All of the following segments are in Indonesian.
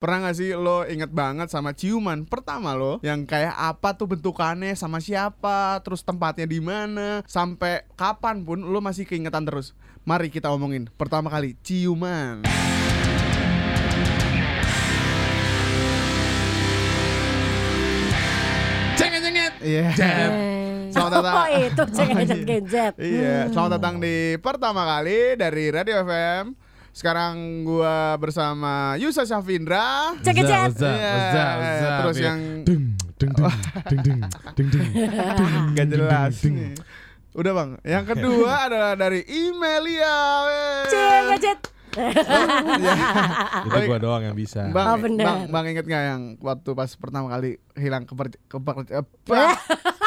Pernah gak sih lo inget banget sama ciuman pertama lo yang kayak apa tuh bentukannya sama siapa, terus tempatnya di mana, sampai kapan pun lo masih keingetan terus. Mari kita omongin pertama kali ciuman. Cenget cenget. Iya. Jep. Eh, Selamat datang. Oh itu cengenjet genjet. Iya, Hmm. selamat datang di pertama kali dari Radio FM. Sekarang gua bersama Yusa Syafindra. Cengenjet. Zah, Iya, zah, zah, terus iya. yang- deng deng deng deng deng deng deng Gak deng, jelas. deng, nih. Udah bang. Yang kedua adalah dari Imelia. Weh. Cengenjet. Iya. Itu gua doang yang bisa. Bang, Oh, bener. bang, bang inget gak yang waktu pas pertama kali hilang keper, keper- apa?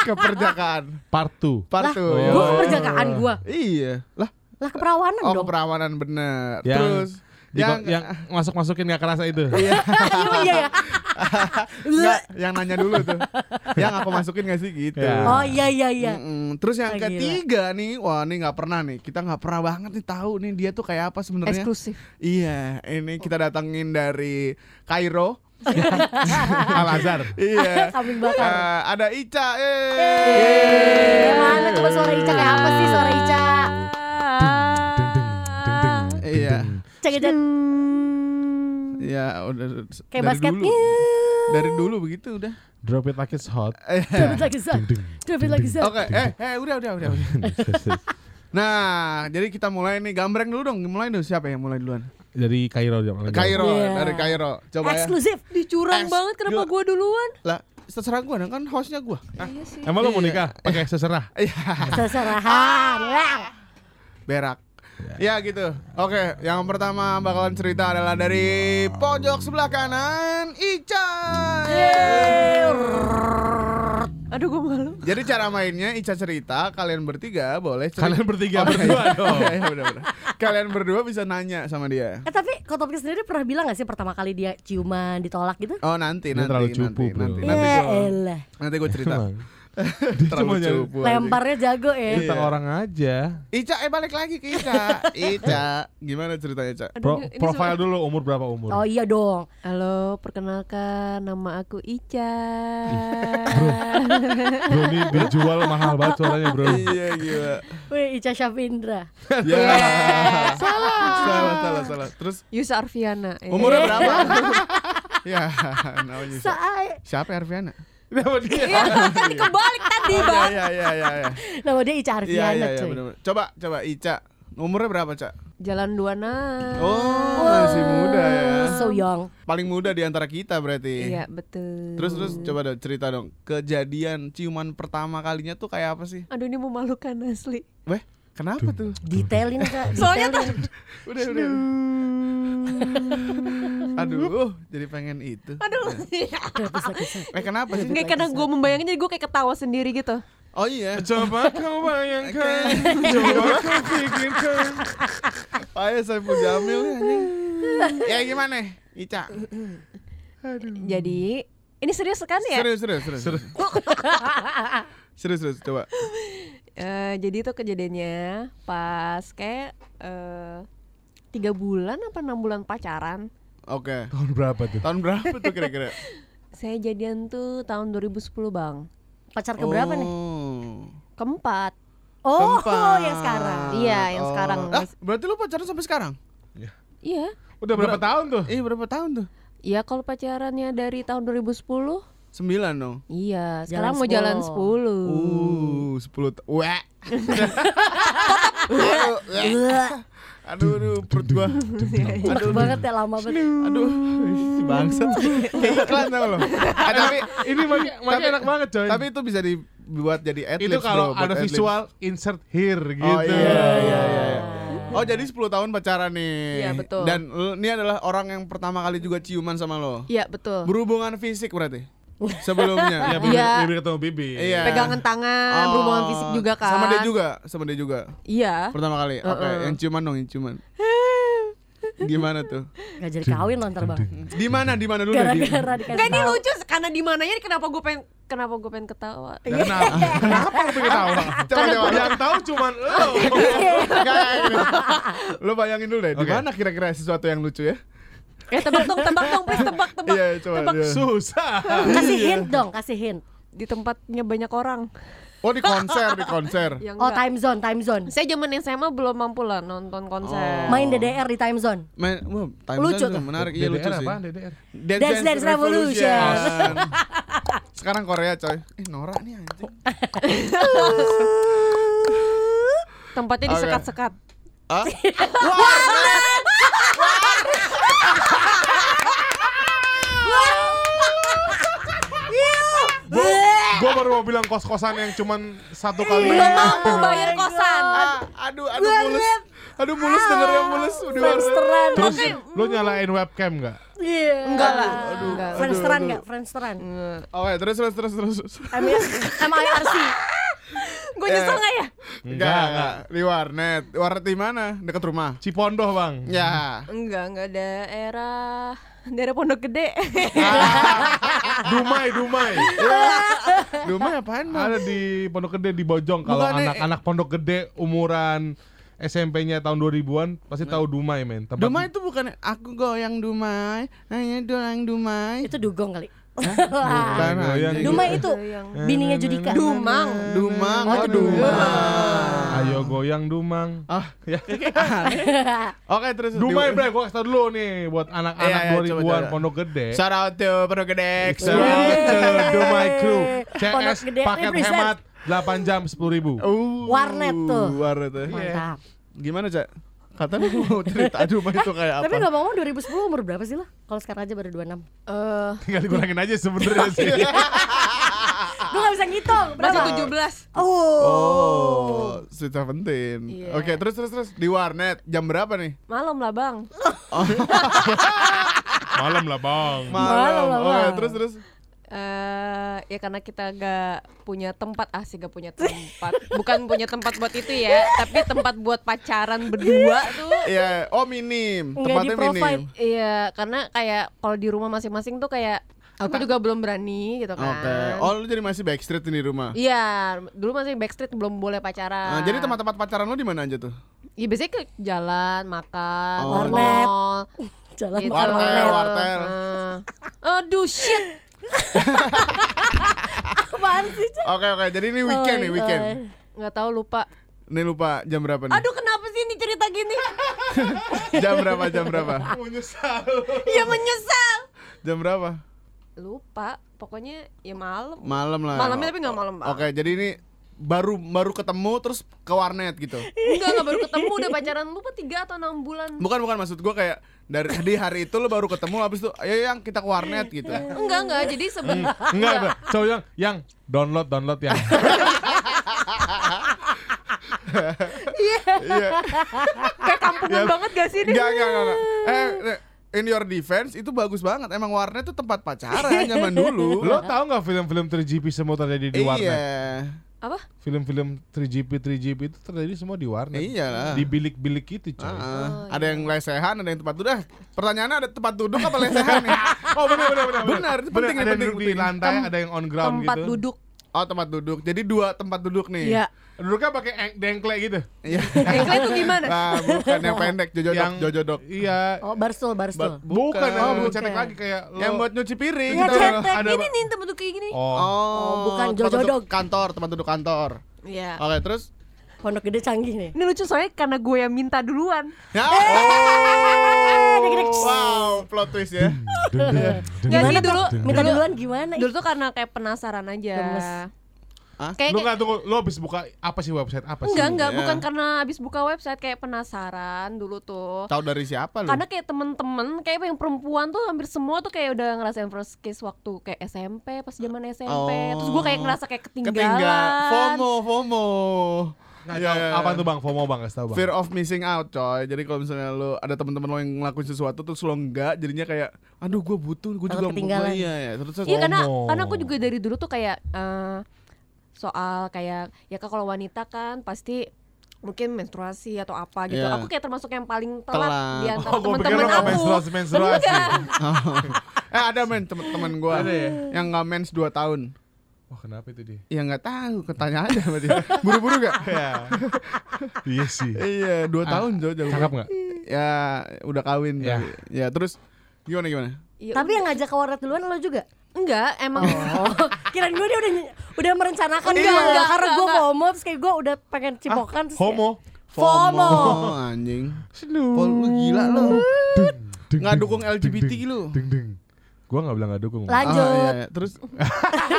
keperjakaan Part 2. part two, Lah, yo. Gue keperjakaan gue. Iya, lah, Lah keperawanan oh dong. keperawanan bener. Yang Terus Yang, yang masuk-masukin gak kerasa itu. Iya iya ya. Nggak, yang nanya dulu tuh. yang aku masukin gak sih gitu. Ya. Oh iya iya iya. Mm-mm. Terus yang Ah, gila. ketiga nih, wah ini nggak pernah nih. Kita nggak pernah banget nih tahu nih dia tuh kayak apa sebenarnya. eksklusif Iya, ini kita datangin dari Kairo. Al Azhar. Iya. Kambing bakar. Eh, ada Ica. eh. Eh, Mana coba suara Ica kayak apa sih suara Ica? Deng deng deng deng. Ah. deng, Iya. deng. Cengenjet. Iya, udah Kayak dari basket. gitu. dulu. Dari dulu begitu udah. Eh, Drop it like it's hot. Dobit lagi Zah. Deng deng. Dobit lagi Zah. Oke, eh eh udah udah udah. udah. Nah, jadi kita mulai nih gambreng dulu dong. Mulai dulu siapa yang mulai duluan? Dari Kairo dong. Kairo, Iya. dari Kairo. Coba ya. Eksklusif. Es. dicurang banget kenapa Gila. gue duluan Lah, terserah gua dong kan hostnya gua. Ah, iya sih Emang lo mau nikah? Pakai seserah. Iya, Seserahan. Wah. berak. Ya gitu. Oke, yang pertama bakalan cerita adalah dari pojok sebelah kanan Ica. aduh gue malu Jadi cara mainnya Ica cerita, kalian bertiga boleh cerita. Oh, iya. Kalian bertiga berdua dong. Oke, ya benar-benar. Kalian berdua bisa nanya sama dia. Eh tapi Kotopik sendiri pernah bilang gak sih pertama kali dia ciuman ditolak gitu? Oh nanti Dia nanti terlalu nanti, cupu, bro. nanti nanti Ya gua- elah. nanti gue cerita. Emang. Terlalu cuma nyari- cupu. anjing. Lemparnya jago Iya. ya. Kita orang aja. Ica eh balik lagi ke Ica. Ica, gimana ceritanya Ica? Pro- ini- ini profile dulu umur berapa umur? Oh iya dong. Halo, perkenalkan nama aku Ica. Bro ini dijual mahal banget suaranya bro. Ya. Iya gila. Wih, Ica Syafindra. Ya. salah. Salah salah salah. Terus Yusa Arfiana. Iya. Eh. umurnya berapa? ya, namanya Ica. Saya Siapa ya Arviana? Kenapa dia? Iya. kan dikebalik tadi, Oh, Bang. iya iya iya iya. nama dia Ica Iya Arfiana iya iya cuy. benar-benar. Coba coba Ica. Umurnya berapa, Cak? Jalan Duana. Oh, masih muda ya. Ah, So young. Paling muda di antara kita berarti. Iya, betul. Terus terus coba dong cerita dong. Kejadian ciuman pertama kalinya tuh kayak apa sih? Aduh, ini memalukan asli. Weh, kenapa tuh? Detailin kak. Soalnya Detailin. Udah udah. udah. Aduh, jadi pengen itu. Aduh. Eh kenapa sih? Iya. Nggak karena gue membayangin jadi gue kayak ketawa sendiri gitu. Oh iya. Coba kau bayangkan, kan? coba kau pikirkan. Ayo saya punya Jamil nih, anjing. Ya gimana? Ica. Hmm. Jadi, ini serius kan ya? Serius serius serius. Serius serius, serius, coba. Eh, jadi itu kejadiannya pas kayak eh, tiga bulan apa enam bulan pacaran. Oke. Tahun berapa tuh? Tahun berapa tuh kira-kira? Saya jadian tuh tahun 2010 bang. Pacar keberapa nih? Oh. Keempat. Oh, Keempat. yang sekarang. Iya, yang sekarang. Ah, berarti lu pacaran sampai sekarang? Iya. Udah berapa tahun tuh? Eh, berapa tahun tuh? Iya kalau pacarannya dari tahun 2010. Sembilan dong. Iya. Jalan Sekarang mau jalan 10. 10. Uh, 10 tahun. Wah. Aduh, weh. Aduh, aduh, perut gua. Enak banget ya lama banget. Aduh, si bangsat. Kayak iklan tau lo. Ah, tapi Ini makanya makanya enak banget coy. tapi itu bisa dibuat jadi adlibs itu bro, kalau buat ada adlibs. visual insert here gitu. Oh iya iya iya. iya. Oh jadi 10 tahun pacaran nih. Iya, betul. Dan lu- ini adalah orang yang pertama kali juga ciuman sama lo. Iya betul. Berhubungan fisik berarti. Sebelumnya. Ya, bibir, Iya. bibir ketemu bibir. Iya. Pegangan tangan, Oh, berhubungan fisik juga kan. Sama dia juga, sama dia juga. Iya. Pertama kali. Oke, yang ciuman dong, yang ciuman. Gimana tuh? Gak jadi kawin loh ntar bang. Di mana? Di mana dulu? deh, di- Gara-gara dikasih Gak ini tahu. lucu karena di mananya kenapa gue pengen kenapa gue pengen ketawa. Iya. Kenapa? Kenapa lu pengen tahu? Coba coba. Yang tahu cuman lo. Enggak, enggak, enggak. Lu bayangin dulu deh, di Oke. mana kira-kira sesuatu yang lucu ya? Eh tebak dong, tebak dong, please tebak, tebak. Iya, coba. iya. Susah. Kasih Iya. hint dong, kasih hint. Di tempatnya banyak orang. Oh di konser, di konser. Yang Oh, time zone, time zone. Iya. Saya zaman SMA belum mampu lah nonton konser. Oh. Main DDR di time zone. Main, wah, time Lucu zone tuh tuh. menarik, iya lucu DDR sih. apaan, DDR? Dance Dance Dance Revolution. Sekarang Korea coy. Eh Nora nih anjing. Tempatnya Oke. disekat-sekat. Ah? Iya. Gue baru mau bilang kos-kosan yang cuman satu kali. Belum Iya. mampu Oh bayar kosan. Ah, aduh, aduh mulus. Aduh mulus dengernya mulus. Udah Friendsteran. Terus lu nyalain webcam nggak? Iya. Enggak lah. Enggak. Friendsteran enggak? Friendsteran. Oke, Oh, ya, terus terus terus terus. M I R C. Gue nyesel nggak ya? Enggak, enggak. Di warnet. Warnet di mana? Dekat rumah. Cipondoh bang. Ya. Enggak, enggak daerah daerah Pondok Gede. Dumai, Dumai. Iya. Rumah apaan, Bang? Ada di Pondok Gede di Bojong kalau Bukannya- anak-anak Pondok Gede umuran SMP-nya tahun 2000-an pasti tahu Dumai men. Tempat Iya. Dumai itu bukan aku goyang Dumai, hanya doang Dumai. Itu dugong kali. Bukan, goyang. gitu. Dumai itu Goyang. bininya Judika. Dumang. Dumang, Oh, oh, Dumang. Ayo goyang Dumang. Ah, ya kayak aneh. Oke, terus Di- Dumai bre, gua kasih tau dulu nih buat anak-anak Iya, iya, 2000-an coba, coba. Pondok Gede. Shout out to Pondok Gede. Shout Shout out. out to Dumai crew. Pondok CS Gede paket represent. hemat 8 jam 10 ribu. Uh, Warnet tuh. Warnet tuh. Iya. Mantap. Gimana, Cak? Katanya mau cerita Dumai itu kayak apa? Tapi nggak mau 2010 umur berapa sih lah? Kalau sekarang aja baru 26 Eh, Tinggal dikurangin aja sebenernya sih. Gue gak bisa ngitung masih Berapa? 17. Oh Oh, sweet seventeen. Iya. Oke, terus terus terus di warnet jam berapa nih? Malam lah, Bang. Malam lah bang. Malam, Malam. Oke, malam. terus terus. eh ya karena kita gak punya tempat asik gak punya tempat bukan punya tempat buat itu ya tapi tempat buat pacaran berdua tuh Iya, oh minim. Nggak Tempatnya di-provide. minim. iya karena kayak kalau di rumah masing-masing tuh kayak aku juga belum berani gitu kan Oke. Oh, lu jadi masih backstreet nih di rumah. iya dulu masih backstreet belum boleh pacaran Nah, jadi tempat-tempat pacaran lu di mana aja tuh? ya biasanya ke jalan makan Oh. ke Warnet. mall Jalan gitu. malam. Wartel, wartel. Nah. aduh shit Apaan sih Cak? Oke oke, jadi ini weekend Oh nih my weekend. God. nggak tahu lupa Ini lupa jam berapa nih? aduh kenapa sih ini cerita gini Jam berapa? Jam berapa? Menyesal. ya menyesal Jam berapa? lupa pokoknya ya malam Malam lah. Malamnya tapi nggak malam banget. Oke, jadi ini baru baru ketemu terus ke warnet gitu. enggak enggak baru ketemu udah pacaran lupa tiga atau enam bulan Bukan bukan maksud gua kayak dari di hari itu lu baru ketemu habis itu ayo yang kita ke warnet gitu. enggak enggak jadi seben Enggak, Bang. so yang yang download download yang Iya. kayak kampungan banget gak sih ini Enggak enggak enggak. enggak. Eh eh, in your defense itu bagus banget. Emang warnet tuh tempat pacaran zaman dulu. Lo tau gak film-film 3GP semua terjadi di Iya. warnet? apa Film-film 3GP 3GP itu terjadi semua di warnet. Iyalah. Di bilik-bilik itu coy. Iya. Ah, Oh, ah. iya. ada yang lesehan, ada yang tempat duduk. Ah, Pertanyaannya ada tempat duduk apa lesehan nih? Oh benar benar benar. Benar, itu penting, ada yang penting, duduk di penting. lantai, ada yang on ground tempat gitu. duduk Oh, tempat duduk. Jadi dua tempat duduk nih. Iya Duduknya pakai eng- dengklek gitu. Iya. Engkle itu gimana Ah, bukan yang pendek jojodok yang jojodok. Iya. Oh barstool barstool Bukan, bukan. Oh, yang lu bukan. cetek lagi kayak lo. Yang buat nyuci piring. Iya gitu. cetek ada- Ini nih tempat duduk kayak gini Oh. Oh, bukan tempat duduk jojodok. Kantor, tempat duduk kantor. Iya Oke, terus Pondok gede canggih nih ini lucu soalnya karena gue yang minta duluan Ya. dikit-dikit. Oh. Wow, plot twist ya. Deng, deng, deng. Nggak sih Iya. dulu Minta duluan gimana? gitu. dulu tuh karena kayak penasaran aja Gemes. Hah? kayak Lu nggak tunggu, lo habis buka apa sih website apa sih? Oh. enggak enggak Iya. bukan karena abis buka website kayak penasaran dulu tuh Tahu dari siapa lu? karena kayak temen-temen kayak yang perempuan tuh hampir semua tuh kayak udah ngerasain first kiss waktu kayak SMP pas zaman SMP terus gue kayak ngerasa kayak ketinggalan, Ketinggal. FOMO, FOMO. Nggak Iya, tahu. iya. Apa tuh bang? FOMO bang, kasih tau bang. Fear of missing out coy Jadi kalau misalnya lo ada teman-teman lo yang ngelakuin sesuatu Terus lo enggak Jadinya kayak Aduh gue butuh Gue Takut juga mau- ketinggalan. Iya ya Terus terus- Iya karena FOMO. karena aku juga dari dulu tuh kayak eh, soal kayak ya kan kalau wanita kan pasti mungkin menstruasi atau apa gitu. Iya. Aku kayak termasuk yang paling telat, Telat. di antara Oh, gua pikir teman-teman lo nggak aku. menstruasi-menstruasi. Enggak. Eh ada men teman-teman gue Ada ya? Yang nggak mens 2 tahun Wah kenapa itu dia? Ya nggak tahu Ketanya aja sama dia Buru-buru gak? iya sih. iya 2 Ah, tahun coy jauh Cakep nggak? Ya udah kawin Ya. kali. Ya terus Gimana gimana? Ya Tapi yang ngajak ke warnet duluan lo juga. Enggak, emang Oh. Kirain gue dia udah ny- udah merencanakan Oh. Enggak, gitu. enggak, karena enggak, gue enggak. FOMO terus kayak gue udah Ah, pengen cipokan terus kayak- Homo. FOMO. anjing. Seduh. Oh, lu gila lu. Dung, dung, Nggak dung, dukung dung, LGBT dung, lu. Dung dung. Gua nggak bilang nggak dukung. Lah. Lanjut. Ah, iya, iya. Terus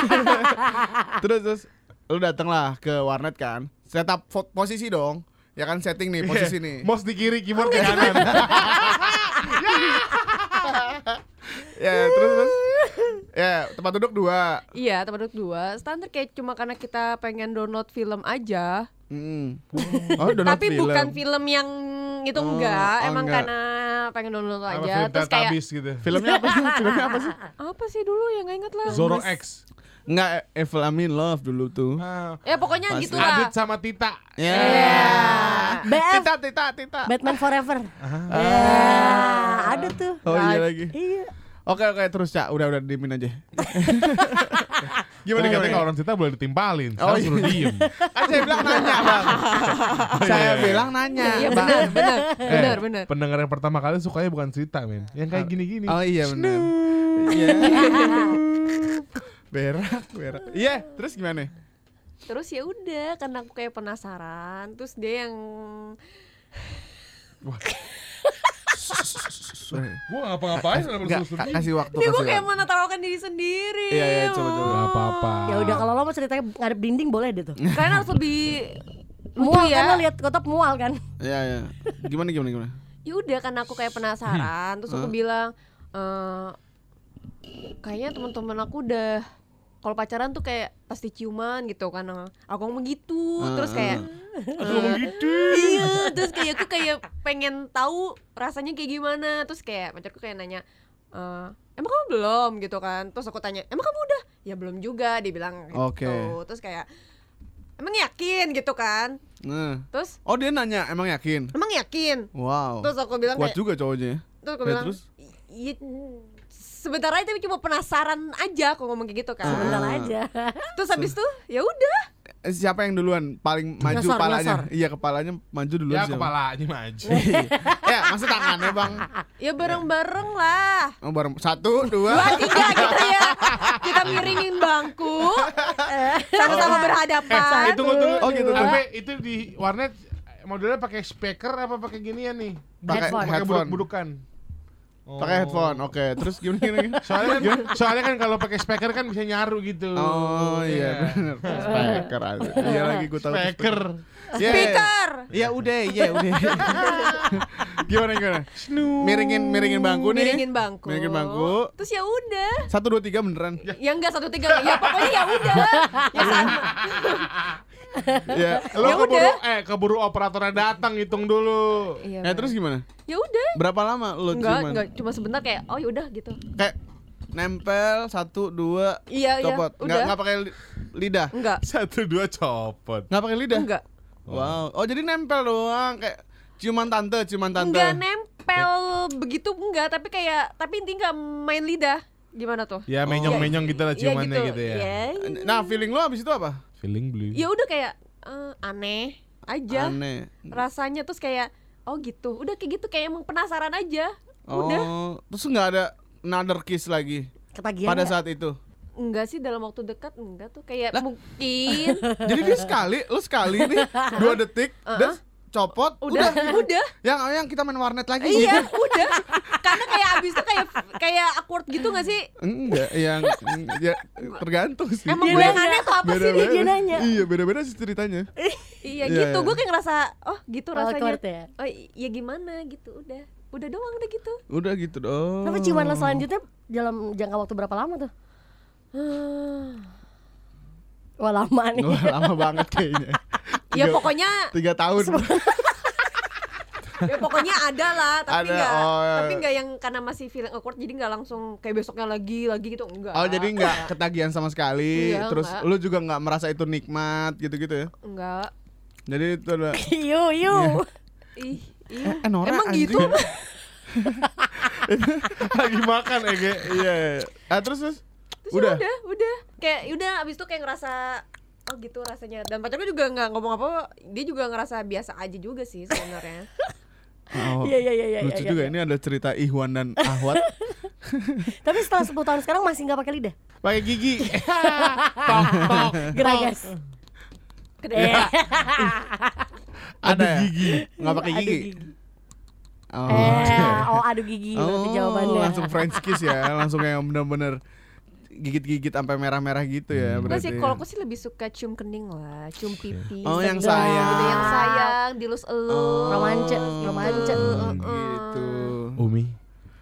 Terus terus lu datang lah ke warnet kan. Set up fo- posisi dong. Ya kan setting nih posisi nih. Mouse di kiri, keyboard di gitu kanan. Ya terus terus. Ya tempat duduk dua. iya tempat duduk dua standar kayak cuma karena kita pengen download film aja. Mm. Oh, download Tapi bukan film yang Oh, itu oh, enggak, emang enggak. karena pengen download Apa aja. film Terus kayak Teletubbies gitu. Filmnya apa sih? Filmnya apa sih? apa sih dulu ya nggak inget lah. Zoro X. Enggak Evil I'm in Love dulu tuh. Ah, Ya pokoknya Pasti. gitulah. Adit sama Tita. Ya. Iya. Ah, BF. Tita Tita Tita. Batman Forever. Ah. Ya, ada tuh. Oh Nah. iya lagi. Iya. Oke oke terus Cak, udah udah diemin aja. Gimana Gimana katanya gimana? kalau orang Tita boleh ditimpalin. Oh, Sekarang suruh iya. diem. Eh, Kan saya bilang nanya, Bang. saya bilang nanya, Oh, Iya Bang. benar, benar, Eh, benar, benar. Pendengar yang pertama kali sukanya bukan cerita, men. Yang kayak gini-gini. Oh iya benar. Iya. berak, berak. Iya, terus gimana? Terus ya udah karena aku kayak penasaran, terus dia yang Gua ngapa-ngapain Enggak, ka- kasih waktu, dia kasih gue kayak waktu. menawarkan diri sendiri. kan? Iya, iya, coba, coba. Gak apa-apa. Ya udah kalau lo mau ceritanya ngadep dinding boleh deh tuh. Kalian harus lebih lucu Mual kan lo ya. lihat kotop mual kan. Iya, iya. Gimana gimana gimana? Ya udah karena aku kayak penasaran, terus aku bilang eh kayaknya teman-teman aku udah kalau pacaran tuh kayak pasti ciuman gitu kan. Aku ngomong gitu, terus kayak Aku ngomong gitu. iya terus kayak aku kayak pengen tahu rasanya kayak gimana terus kayak pacarku kayak nanya "Eh, emang kamu belum gitu kan terus aku tanya emang kamu udah ya belum juga dibilang gitu Oke. terus kayak emang yakin gitu kan Nah. terus Oh, dia nanya, emang yakin? emang yakin Wow. terus aku bilang Kuat kayak juga cowoknya. terus aku Ya, bilang terus? "I- iya, sebentar aja tapi cuma penasaran aja aku ngomong kayak gitu kan Bentar Ah. aja. terus habis itu ya udah Eh, Siapa yang duluan paling maju Nyasar, kepalanya? nyasar. Iya, kepalanya maju duluan Ya siapa? kepalanya maju. Iya, ya, maksud tangannya, Bang. Iya. ya bareng-bareng lah Oh, bareng satu, dua. dua tiga gitu ya kita miringin bangku sama-sama berhadapan Eh, tunggu tunggu. Oh, gitu, Sampai itu di warnet modelnya pakai speaker apa pakai ginian nih? Pakai Headphone. Pakai headphone. buduk-budukan. Oh. Pakai headphone. Oke, terus gimana gimana? Soalnya kan, soalnya kan kalau pakai speaker kan bisa nyaru gitu. Oh iya benar. Speaker aja. Iya lagi gue tahu. Speaker. Yeah. speaker Ya udah, ya udah. gimana gimana? Miringin miringin bangku nih. miringin bangku Miringin bangku. terus ya udah Satu dua tiga beneran. ya enggak satu tiga ya pokoknya ya udah ya sama Ya. Lo Ya keburu udah. eh keburu operatornya datang hitung dulu. Iya, Ya terus gimana? ya udah Berapa lama lo enggak ciuman? enggak cuma sebentar kayak oh ya udah gitu Kayak nempel satu dua iya iya copot. Enggak udah enggak pakai li- lidah. enggak Satu dua copot. Enggak pakai lidah. enggak Wow. Oh jadi nempel doang kayak ciuman tante, ciuman tante. enggak nempel begitu enggak tapi kayak tapi inti enggak main lidah gimana tuh Ya menyong-menyong gitu lah Oh, Iya ciumannya gitu ya. Iya. Nah, feeling lo abis itu apa? Feeling blue. ya udah kayak eh, aneh aja Aneh. rasanya terus kayak oh gitu udah kayak gitu kayak emang penasaran aja Oh, udah terus nggak ada another kiss lagi Iya, Ketagihan. pada nggak? saat itu. enggak sih dalam waktu dekat enggak tuh kayak mungkin Jadi dia sekali, lu sekali nih dua detik, terus copot, udah udah. udah Yang yang kita main warnet lagi. Gitu. iya udah karena kayak abis itu kayak kayak awkward gitu nggak sih Enggak, yang ya, tergantung sih. emang Beda- gue yang aneh atau apa sih beda-beda. dia nanya? Iya, beda-beda sih ceritanya. iya Iya, gitu iya. gue kayak ngerasa oh gitu Oh, rasanya awkward ya? oh i- ya gimana gitu udah udah doang udah gitu Udah gitu dong. Tapi ciuman lo selanjutnya dalam jangka waktu berapa lama tuh? Ah. Wah lama nih. Wah, lama banget kayaknya. ya Tiga- pokoknya tiga tahun. ya pokoknya ada lah tapi Ada, nggak oh, iya. tapi nggak yang karena masih feeling awkward jadi nggak langsung kayak besoknya lagi lagi gitu enggak Oh, jadi nggak ketagihan sama sekali. Iya, terus nggak. lu juga nggak merasa itu nikmat gitu-gitu ya. enggak Jadi itu ada Yo yo. ih iya Eh, Nora, emang anjing. gitu Lagi makan Ege. Iya. iya. Ah, terus terus. Terus udah. udah. udah, udah. Kayak ya udah abis itu kayak ngerasa oh gitu rasanya. Dan pacarku juga nggak ngomong apa, dia juga ngerasa biasa aja juga sih sebenarnya. Oh, Iya, iya, iya, iya, Lucu iya, juga ya. iya. ini ada cerita Ihwan dan Ahwat Tapi setelah 10 tahun sekarang masih nggak pakai lidah. pakai gigi. Geragas. Gede. ada ya? gigi, Iya, nggak pakai Aduh, gigi. Oh. Eh, oh adu gigi berarti Oh, jawabannya. langsung French kiss ya, langsung yang bener-bener gigit-gigit sampai merah-merah gitu ya Nggak berarti. sih, kalau aku sih lebih suka cium kening lah, cium pipi. Oh, yang segenap sayang. Gitu, yang sayang, dilus-elus. Oh, Romance, romance. Gitu. Umi,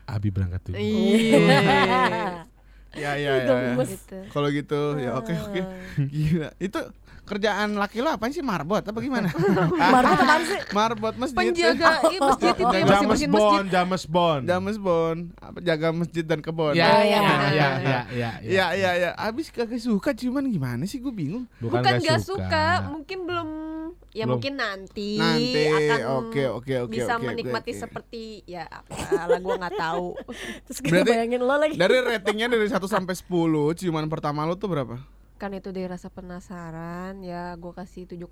Abi berangkat dulu. Iya. Ya ya ya. Udah gemes. Ah. gitu. Kalau gitu ya oke oke. Gila. Itu kerjaan laki lo apa sih marbot apa gimana? Marbot apaan sih? marbot masjid. Penjaga iya, masjid itu yang James bersihin-bersihin masjid. Bond, James Bond. James Bond, apa jaga masjid dan kebon. Ya, ya, Oh, iya. ya, ya, ya, Ya ya ya. Abis kagak suka cuman gimana sih gue bingung. Bukan, gak suka, mungkin belum ya Belum. mungkin nanti, Nanti, akan oke, oke, oke, bisa oke, menikmati oke. seperti ya apalah gua nggak tahu Terus gue Berarti- bayangin lo lagi. Dari ratingnya dari 1 sampai 10, ciuman pertama lo tuh berapa? kan itu dari rasa penasaran ya gua kasih 7,5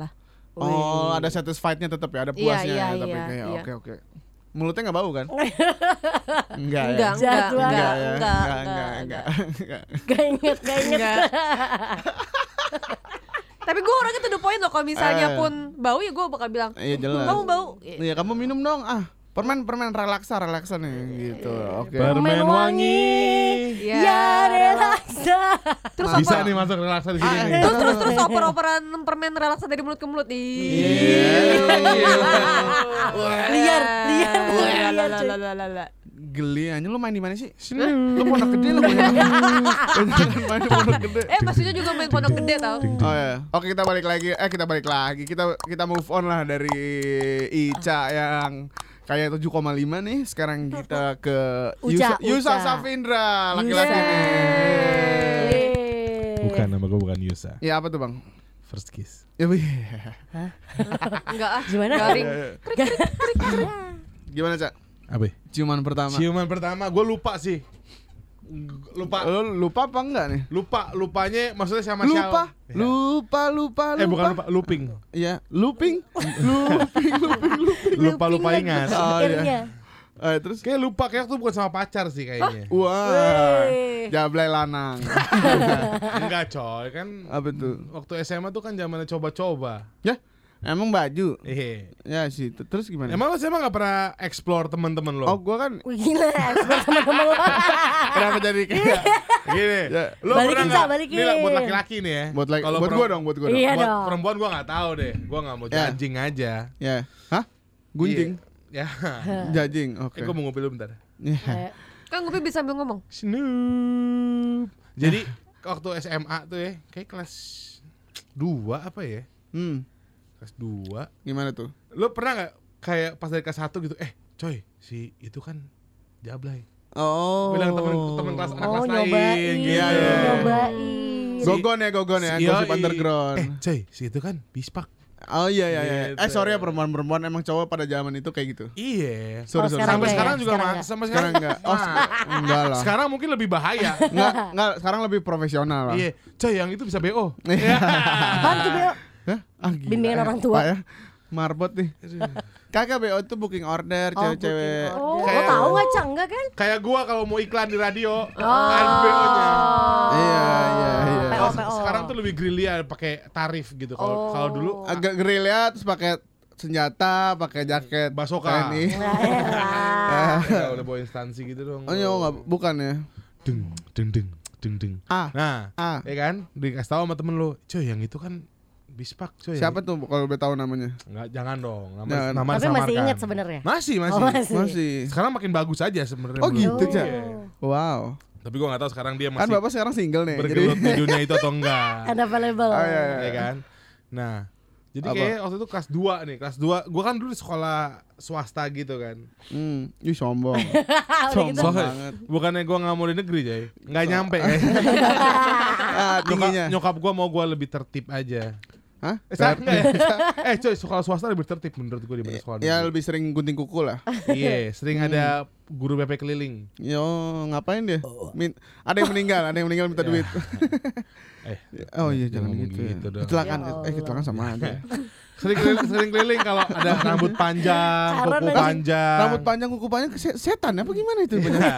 lah Oh, ada satisfied-nya tetap ya, ada Iya, puasnya iya, ya, tapi iya, kayak iya. oke oke. Mulutnya nggak bau kan? Enggak ya. enggak enggak Jadwal. enggak enggak, enggak, enggak, enggak. Gak inget, gak inget. Enggak. tapi gua orangnya tuh the point loh kalau misalnya Eh. pun bau ya gua bakal bilang Iya jelas. kamu bau Iya, kamu minum dong ah. Permen permen relaksa relaksa nih gitu. Iya, Oke. Permen wangi. Ya. Ya relaksa. terus Bisa apa nih masuk relaksa di sini. Ah, nih. terus terus terus oper-operan permen relaksa dari mulut ke mulut ih Iya. Iya, Liar, liar, liar, cuy. Geli aja lu main di mana sih? Sini. Lu pondok gede lu main. Lu jangan main di pondok gede. Eh maksudnya juga main pondok gede tau Oh ya. Oke kita balik lagi. Eh kita balik lagi. Kita kita move on lah dari Ica yang kayak 7,5 nih. Sekarang kita ke Yusa, Uca, Yusa Uca. Safindra laki-laki nih. Yeay. Bukan nama gue bukan Yusa. Ya apa tuh bang? First kiss. Ya, wih. Enggak ah Eh, Gimana? Garing Gimana cak? Apa? ya? Ciuman pertama. Ciuman pertama, gue lupa sih. G- Lupa, Lu lupa apa enggak nih? lupa, lupanya maksudnya sama Lupa, siapa? Ya. lupa, lupa, lupa. Eh bukan lupa, looping. Iya, looping, looping, looping, looping. Lupa lupa Lagi ingat. Oh, iya. pikirnya. Eh, terus Kayak lupa kayak tuh bukan sama pacar sih kayaknya. Oh. Wah, Weh. jablay lanang. Enggak coy kan Apa tuh? waktu SMA tuh kan zamannya coba-coba. Ya, emang baju. Hehe. Ya sih. Terus gimana? Emang lu SMA gak pernah explore teman-teman lo? oh, gua kan Wih, Gila, expert teman-teman lo. kenapa jadi Iya. kayak Gini, Ya. lu Balikin, pernah Sa, nggak? balikin. Ini lah buat laki-laki nih ya. buat like, Kalau buat perem- gua dong, buat gua dong. Iya buat dong. perempuan gua nggak tahu deh. Gua nggak mau Ya. judging aja. Ya. Hah? Gunting, Iya. Ya. jajing. Oke. Eh, gua mau ngopi dulu bentar. Ya. Eh, Kan Gupi bisa sambil ngomong Snoop. Jadi waktu SMA tuh ya, kayak kelas 2 apa ya? Hmm, Kelas 2. gimana tuh? Lu pernah nggak kayak pas dari kelas 1 gitu, eh coy, si itu kan jablay. Oh. Bilang temen, temen kelas anak Oh kelas lain Iya, nyobain, gitu. nyobain. Gogon ya, gogon ya, Si- gosip yoi. underground. Eh coy, si itu kan bispak. Oh iya iya iya. Eh Gitu. sorry ya perempuan-perempuan emang cowok pada zaman itu kayak gitu. Iya. Sorry Oh, sorry. sekarang Sampai enggak sekarang ya? juga Sekarang ma- enggak. sampai sekarang sekarang Nah. enggak. Oh, se- enggak lah. Sekarang mungkin lebih bahaya. Enggak, enggak, sekarang lebih profesional lah. Iya. Iya, coy yang itu bisa BO. Apaan tuh, Beo? Hah? Ah, gila. Bimbingan Eh, orang tua. Pak ya. Marbot nih. Kakak BO itu booking order Oh, cewek-cewek. booking order. Kayak- Lo tau gak, Cang? Enggak kan? Kayak gua kalau mau iklan di radio, Oh. kan ada BO-nya. Iya, iya, iya. PO, Kalau PO. Sekarang tuh lebih grilia pakai tarif gitu. Kalau kalau dulu Oh. Agak gerilya terus pakai senjata, pakai jaket Basoka. TNI. Nah, elah. ya, udah bawa instansi gitu dong. Oh, iya, enggak bukan ya. Deng deng deng deng deng. Ah. Nah, Ah. ya kan? Dikasih tahu sama temen lu, "Coy, yang itu kan bispak, coy." Siapa tuh kalau boleh tahu namanya? Enggak, jangan dong. Nama, Jangan. nama Tapi masih disamarkan. ingat sebenarnya. Masih, masih. Oh, masih. Masih. Sekarang makin bagus aja sebenarnya. Oh, menurut gitu, gua. Cak. Iya. Wow. Tapi gua nggak tahu sekarang dia Kan masih Bapak sekarang single nih. Jadi bergelut di dunia itu atau Kan. enggak. Unavailable. Oh, iya, ya kan? Nah, jadi Apa? kayak waktu itu kelas 2 nih, kelas 2. Gua kan dulu di sekolah swasta gitu kan. Hmm, ih sombong. Udah gitu. Sombong Soalnya banget. bukannya gua nggak mau di negeri, Jay. Nggak nyampe. Ah, nyokap, tingginya. nyokap gua mau gua lebih tertib aja. Hah? Eh, sa- enggak ya? eh coy, sekolah swasta lebih tertib menurut gue dibanding sekolah Ya negeri. lebih sering gunting kuku lah. Iya, sering ada guru BP keliling. Yo ngapain dia? Oh. Min- ada yang meninggal, ada yang meninggal minta Ya. duit. Eh, Oh iya Jangan jangan ngomong gitu. ya. gitu dong. Kecelakaan, Ya eh kecelakaan sama aja. sering keliling, sering keliling kalau ada rambut panjang, Calon kuku aja. panjang. Rambut panjang, kuku panjang, se- setan apa gimana itu? Iya,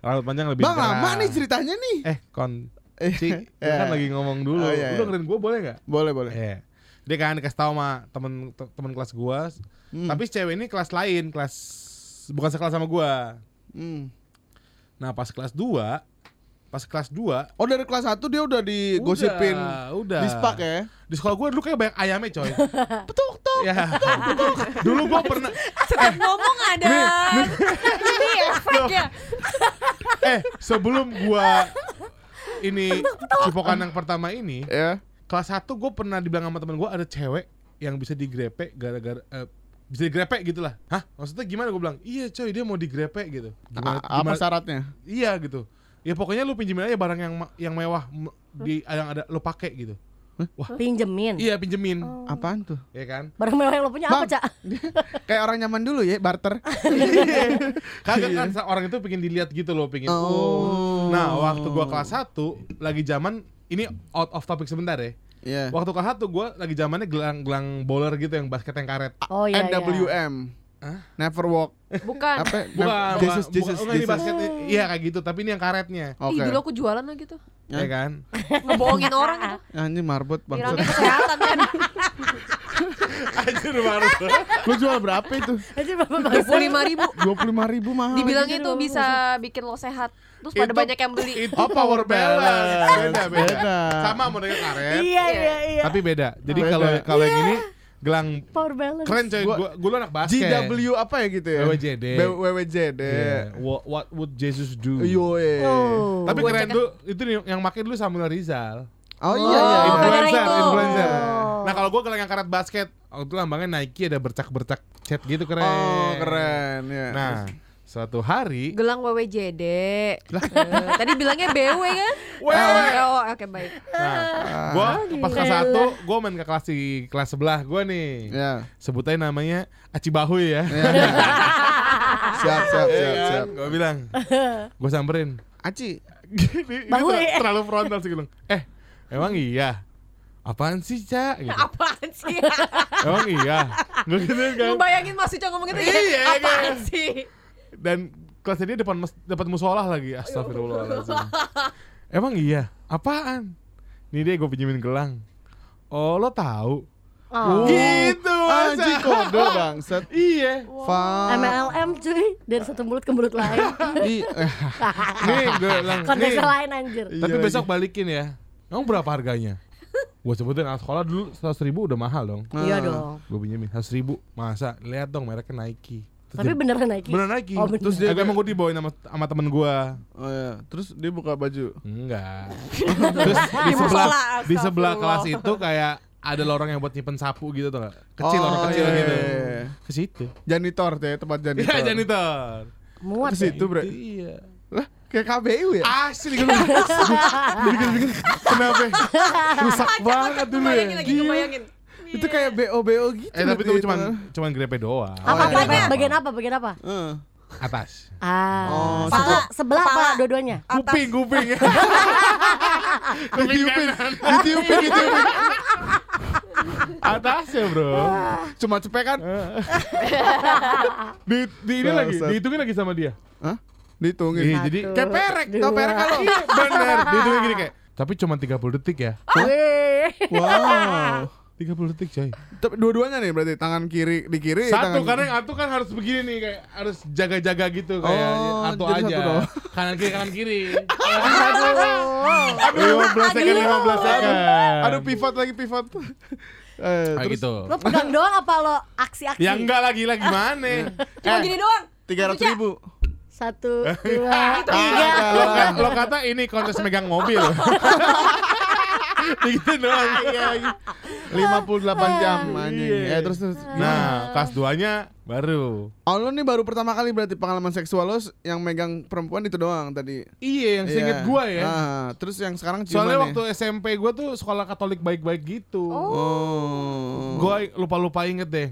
rambut panjang lebih Bang cerah. lama nih ceritanya nih. Eh, kon Eh, Ci, lu ya. kan lagi ngomong dulu. Oh, iya, Lu iya. dengerin gue boleh nggak? Boleh boleh. Iya. Dia kan dikasih tahu sama temen te- temen kelas gue. Hmm. Tapi si cewek ini kelas lain, kelas bukan sekelas sama gue. Hmm. Nah pas kelas 2 pas kelas 2 Oh dari kelas 1 dia udah digosipin udah. di spak Iya, ya. Di sekolah gue dulu kayak banyak ayamnya coy. Petuk tuk. Ya. Dulu gue pernah Setiap ngomong ada. Ini efeknya. eh sebelum gua ini cipokan yang pertama ini Ya. kelas 1 gue pernah dibilang sama temen gue ada cewek yang bisa digrepe gara-gara eh, bisa digrepe gitu lah. Hah? Maksudnya gimana gue bilang? Iya coy dia mau digrepe gitu. Gimana, A- apa gimana- syaratnya? Iya gitu. Ya pokoknya lu pinjemin aja barang yang ma- yang mewah m- di yang ada lu pakai gitu. Pinjemin. Iya pinjemin. Apaan tuh? Ya kan? Barang mewah yang lo punya apa, Bang. Cak? Kayak orang nyaman dulu ya barter. Kagak kan sa- orang itu pengen dilihat gitu loh, pengen. Iya. Oh. Nah, waktu gua kelas 1 lagi zaman ini out of topic sebentar ya. Iya. Waktu kelas 1 gua lagi zamannya gelang-gelang bowler gitu yang basket yang karet. Ah, Oh iya. iya. NWM. Hah? Never walk. Bukan. Apa? Nev- Bukan, bukan, nah, Jesus, bukan- Jesus, bukan ini Jesus. basket iya kayak gitu, tapi ini yang karetnya. Oke. Ih, dulu aku jualan lah gitu. Ya kan? Ngebohongin orang itu. Anjing marbot Bilangnya bangsat. kesehatan kan. Anjir baru. Lu jual berapa itu? Jadi berapa bangsa? 25 ribu. 25 ribu mahal. Dibilangnya itu bisa bikin lo sehat. Terus pada Itu- banyak yang beli. Itu Oh, power balance. Beda, beda. Beda. Sama modelnya karet, Iya iya iya. tapi beda. Jadi Beda. kalau kalau yang ini gelang Power balance. keren coy. Iya. Gua- Gua gua dulu anak basket. GW apa ya gitu ya? WWJD. B- WWJD. Yeah. Iya. What, what would Jesus do? Yo, eh. Oh. Tapi Gua keren cek- tuh itu nih yang make dulu Samuel Rizal. Oh iya iya. Oh, iya. gara-gara influencer, itu. influencer. Oh. Nah, kalau gua gelang yang karet basket, waktu itu lambangnya Nike ada bercak-bercak cat gitu keren. Oh, keren ya. Nah, suatu hari Gelang WWJD. Eh, Tadi bilangnya BW kan? WW. Oh, oke baik. nah, gua pas kelas gila. 1, gua main ke kelas di kelas sebelah gua nih. Ya. Sebut aja namanya Aci Bahuy ya. Ya. siap, siap, siap, Iya kan? siap. Gua bilang. Gua samperin. Aci. Gini, ini Bahuy. ter- terlalu frontal sih gua bilang. Eh, emang iya. Apaan sih, Cak? Gitu. Apaan sih? Emang iya. Gua gituin kan. Lu bayangin Mas Uca ngomong gitu ya? Iya, Apaan kan? sih? dan kelas ini depan mes- depan musolah lagi astagfirullahaladzim emang iya apaan nih deh gue pinjemin gelang oh lo tahu Oh. gitu masa? Aci kode bangsat. iya Fa. MLM cuy dari satu mulut ke mulut lain. I. eh, Iya. nih gue bilang nih Konteks lain anjir. Iya tapi lagi. besok balikin ya emang berapa harganya gue sebutin anak sekolah dulu seratus ribu udah mahal dong Ah. Iya dong. gue pinjemin seratus ribu masa lihat dong mereknya Nike Terus Tapi dia- beneran Nike. beneran Nike Oh, bener. terus dia emang gue dibawain sama sama temen gue Oh iya. Terus dia buka baju. Enggak. Terus di sebelah musola, di sebelah astagfirullah. kelas itu kayak ada lorong yang buat nyimpen sapu gitu tuh nggak? Kecil lorong Oh, kecil iya, gitu. iya, iya. Ke situ. Janitor deh, tempat janitor. Iya, janitor. Muat. Terus ya. itu, Bre. Iya. Lah, kayak KBU ya? Asli gue Kenapa? Rusak banget dulu ya. Bayangin lagi, kebayangin. Itu kayak BO-BO gitu. iya. Eh tapi itu Bre, cuman cuman grepe doang. Apa apa iya. apa? bagian apa? Bagian apa? Heeh. Atas. Ah. Oh, Pala sebelah apa Pala. dua-duanya? Kuping, kuping. Ditiupin, ditiupin, ditiupin. Atasnya, ya, Bro. Cuma kan? cepekan. Eh. Di, di ini lagi, Bangsat. dihitungin lagi sama dia. Hah? Dihitungin. Iya, jadi Satu, Kayak perek, tau dua. perek kalau. Iya. bener, dihitungin gini kayak. Tapi cuma 30 detik ya. Wih. Ah. Wow. 30 detik, coy. Tapi dua-duanya nih berarti tangan kiri di kiri Satu tangan karena yang satu kan harus begini nih kayak harus jaga-jaga gitu kayak Oh, satu jadi aja. satu doang. kanan kiri kanan kiri. Aduh. Aduh, 15 second 15 second. Aduh pivot lagi pivot. Eh, terus Kayak gitu. Lo pegang doang apa lo aksi-aksi? Ya enggak Eh. lagi lah gimana? Cuma gini doang. tiga ratus ribu. Satu, Iya. dua, tiga. Ah, Lo, ka- lo kata ini kontes megang mobil. Begitu doang. 58 jam anjing. Iya. Eh terus terus. Nah, Nah, kelas 2-nya baru. oh, lu nih baru pertama kali berarti pengalaman seksual lu s- yang megang perempuan itu doang tadi. Iya, yang Iya. seinget gua ya. Ah, terus yang sekarang ciuman Soalnya ya? waktu SMP gua tuh sekolah Katolik baik-baik gitu. Oh. Gua lupa-lupa inget deh.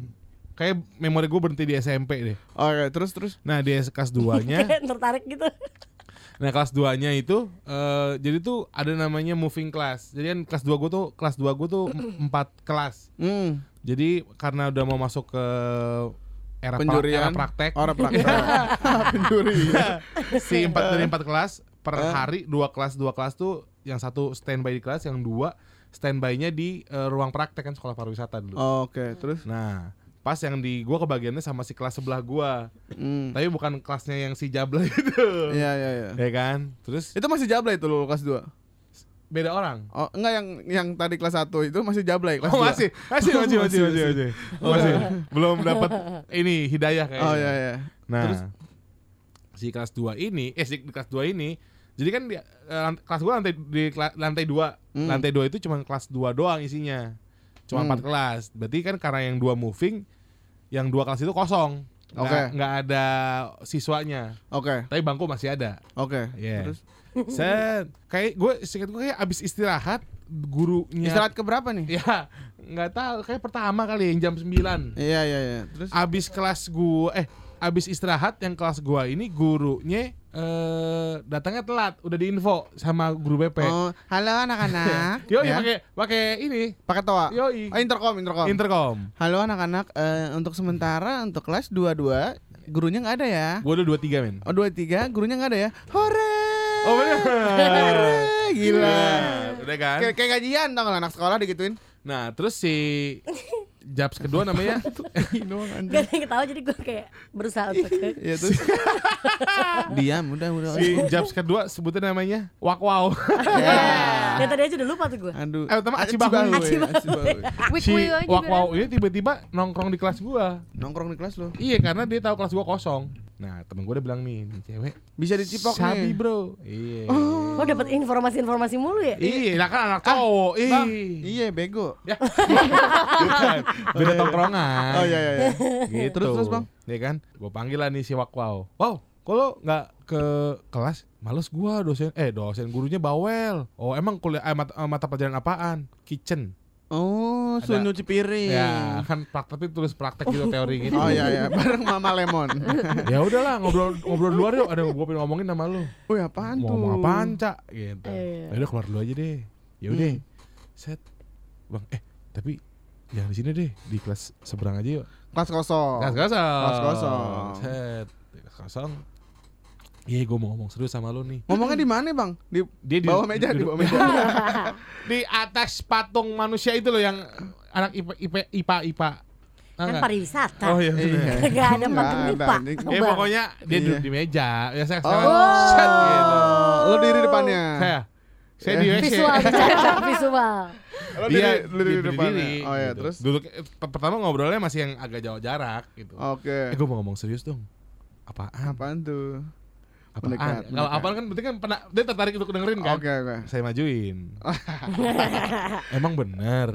Kayak memori gua berhenti di SMP deh. Oke, terus terus. Nah, di kelas 2-nya Ya. Kayak tertarik gitu. Nah kelas 2 nya itu eh, jadi tuh ada namanya moving class. Jadi kan kelas 2 gue tuh kelas 2 gue tuh empat kelas. Hmm. Jadi karena udah mau masuk ke era, pra- Penjurian. era praktek Orang praktek. Penjurian. si empat dari empat kelas per Eh. hari dua kelas dua kelas tuh yang satu standby di kelas yang dua standby-nya di eh, ruang praktek kan sekolah pariwisata Oh. dulu. Oke, terus. Nah pas yang di gua kebagiannya sama si kelas sebelah gua Hmm. tapi bukan kelasnya yang si jabla itu Iya, iya, iya. ya kan terus Itu masih jablay itu lu kelas 2. beda orang Oh, enggak yang yang tadi kelas 1 itu masih jablay kelas Oh, dua. masih, masih, masih, masih, masih, masih, Masih. Belum dapat ini hidayah kayaknya. Oh, iya, iya. Nah, Terus? si kelas 2 ini, eh si kelas 2 ini, jadi kan di, eh, lant- kelas gua lantai di kela- lantai 2. Hmm. Lantai 2 itu cuma kelas 2 doang isinya. Cuma Hmm. empat kelas. Berarti kan karena yang dua moving, yang dua kelas itu kosong. Nggak- Oke. nggak ada siswanya. Oke, Tapi bangku masih ada. oke. Iya. Terus Set. Kayak gue, singkat gue kayak abis istirahat, gurunya istirahat ke berapa nih? Ya, nggak tahu kayak pertama kali yang jam 9. Iya, iya, iya. Terus Abis kelas gua eh abis istirahat yang kelas gua ini gurunya eh datangnya telat, udah diinfo sama guru BP. Oh, halo anak-anak. Yoi Ya. pakai pakai ini. pakai toa. Oh, Yoi. intercom, intercom. Intercom. halo anak-anak, eh, untuk sementara untuk kelas 22 gurunya nggak ada ya. Gua udah 23, men. Oh, 23 gurunya nggak ada ya. Hore! Oh, bener. Hore! Gila. Nah, udah kan? Kayak kayak gajian tau nggak anak sekolah digituin. Nah, terus si Jabs kedua namanya Gak ada yang ketawa jadi gue kayak berusaha untuk Iya terus. Diam, udah udah. si Jabs kedua sebutnya namanya Wakwaw. Dan Ya, tadi aja udah lupa tuh gue Ya. Aduh. Eh, pertama Ah, Aci Bahuy. Cibahuy, Aci Bahuy. Aci Bahuy. Wik si wik aja bilang. Wakwaw ini tiba-tiba nongkrong di kelas gua. Nongkrong di kelas lo. Iya karena dia tahu kelas gua kosong. Nah temen gua udah bilang nih, nih cewek Bisa dicipok sabi nih. bro. Iya. Oh dapat informasi-informasi mulu ya Iya, lah kan anak cowok. Iya. Ah, Bang, iya bego. Ya. Bukan. Beda tongkrongan. iya. Oh iya iya iya. Gitu. Terus, terus, Bang. Iya kan? Gua panggil lah nih si Wakwaw. Wow, kalau nggak ke kelas males gua dosen eh dosen gurunya bawel oh emang kuliah eh, mata, eh, mata pelajaran apaan kitchen Oh, Ada- suruh nyuci piring. ya kan praktek tapi tulis praktek gitu teori gitu Iya. Oh iya iya, bareng Mama Lemon. ya udahlah ngobrol ngobrol di luar yuk ada yang gua pengen ngomongin sama lu Wih, apaan mau tuh? ngomong apaan cak gitu Iya. ya udah keluar dulu aja deh ya udah set bang eh tapi jangan di sini deh di kelas seberang aja yuk Kelas kosong. Oh. kelas kosong Kelas kosong. set di kelas kosong iya gue mau ngomong serius sama lu nih Ngomongnya di mana, Bang? Di dia di- bawah meja, di duduk- bawah meja. Oh. di atas patung manusia itu loh yang anak ipa ipa ipa, IPA. Tau Kan nggak? pariwisata oh iya bener. Nah. Iya. Gak ada Nggak makan ada, ya, lupa anjing. Eh, pokoknya dia duduk di meja ya saya Oh, Nah. set gitu Lo diri depannya. saya saya di WC Visual dicatat, visual Lo diri, Iya, lo diri Oh, depannya. berdiri, Oh iya, gitu. terus. Duduk eh, per- pertama ngobrolnya masih yang agak jauh jarak gitu. Oh, Oke. Eh, gue mau ngomong serius dong. Apaan? Apaan tuh? Apaan? Mendekat, Kalau mendekat. apaan kan berarti kan pernah dia tertarik untuk dengerin kan? Oke, Oh. oke. Saya majuin. Emang bener.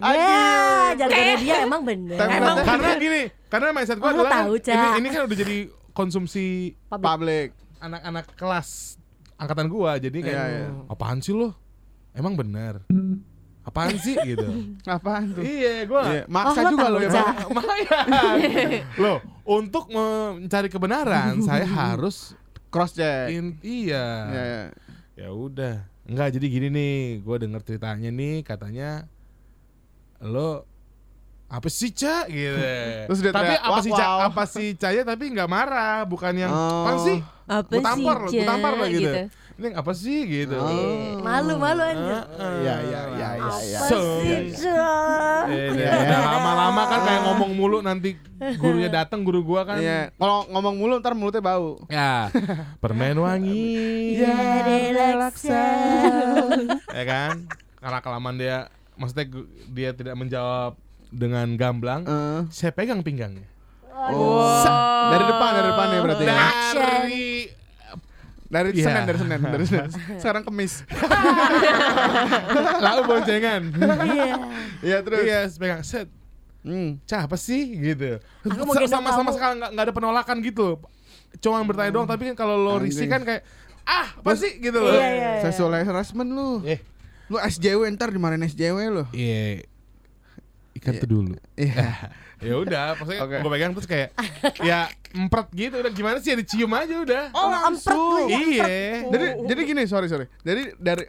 Ya jargonnya dia emang bener Template. Emang bener. karena gini, karena mindset gue Oh, lo adalah kan tahu, ini, Cak. ini kan udah jadi konsumsi public Public. anak-anak kelas angkatan gua jadi kayak Iya, iya. apaan sih lo? Emang bener. Apaan sih gitu? Apaan tuh? iya, gua Iya, maksa Oh, lo juga tahu, lo ya, Cak. Bang. Lumayan. Loh, untuk mencari kebenaran saya harus Cross check. in, iya. Iya, iya. Ya udah. Enggak, jadi gini nih, gua denger ceritanya nih katanya lo apa sih Ca gitu. Terus dia tapi teriak, apa "Wow, sih Ca? wow." Apa sih Caya tapi nggak marah, bukan yang Oh. apa sih? Apa Gua tampar lo, sih gua tampar lo Cak? gitu. Ini yang apa sih gitu. Oh. Malu-malu anjir Iya, iya, iya, iya, iya. Apa So- sih Cak? Eh, dia udah lama-lama kan kayak ngomong mulu nanti gurunya datang guru gua Ah. kan. Iya, kalau ngomong mulu ntar mulutnya bau. Ya, permen wangi. iya, ya kan? Karena kelamaan dia maksudnya gu- dia tidak menjawab dengan gamblang. Eh. Saya pegang pinggangnya. Nah. Oh. Dari depan, dari depan ya berarti. ya? Dari Dari Iya. Senin, dari Senin, dari Senin. Sekarang Kemis. Lalu boncengan. Iya. Iya terus. Iya, pegang set. Hmm. Cah, apa sih gitu. Aku mau Sa- gendong sama sama kamu. sekali nggak nggak ada penolakan gitu. Cuma yang bertanya doang, tapi kan kalau lo risih Anjing. kan kayak ah, apa sih gitu loh. Iya, iya. Sexual harassment lu. Eh, Lu SJW ntar dimarahin SJW lu. Iya. Ikan tuh dulu. Iya. Ya udah, maksudnya Oke. gue pegang terus kayak ya empret gitu udah gimana sih ya dicium aja udah. Oh, empret lu ya, Iya. Jadi jadi gini, sorry sorry. Jadi dari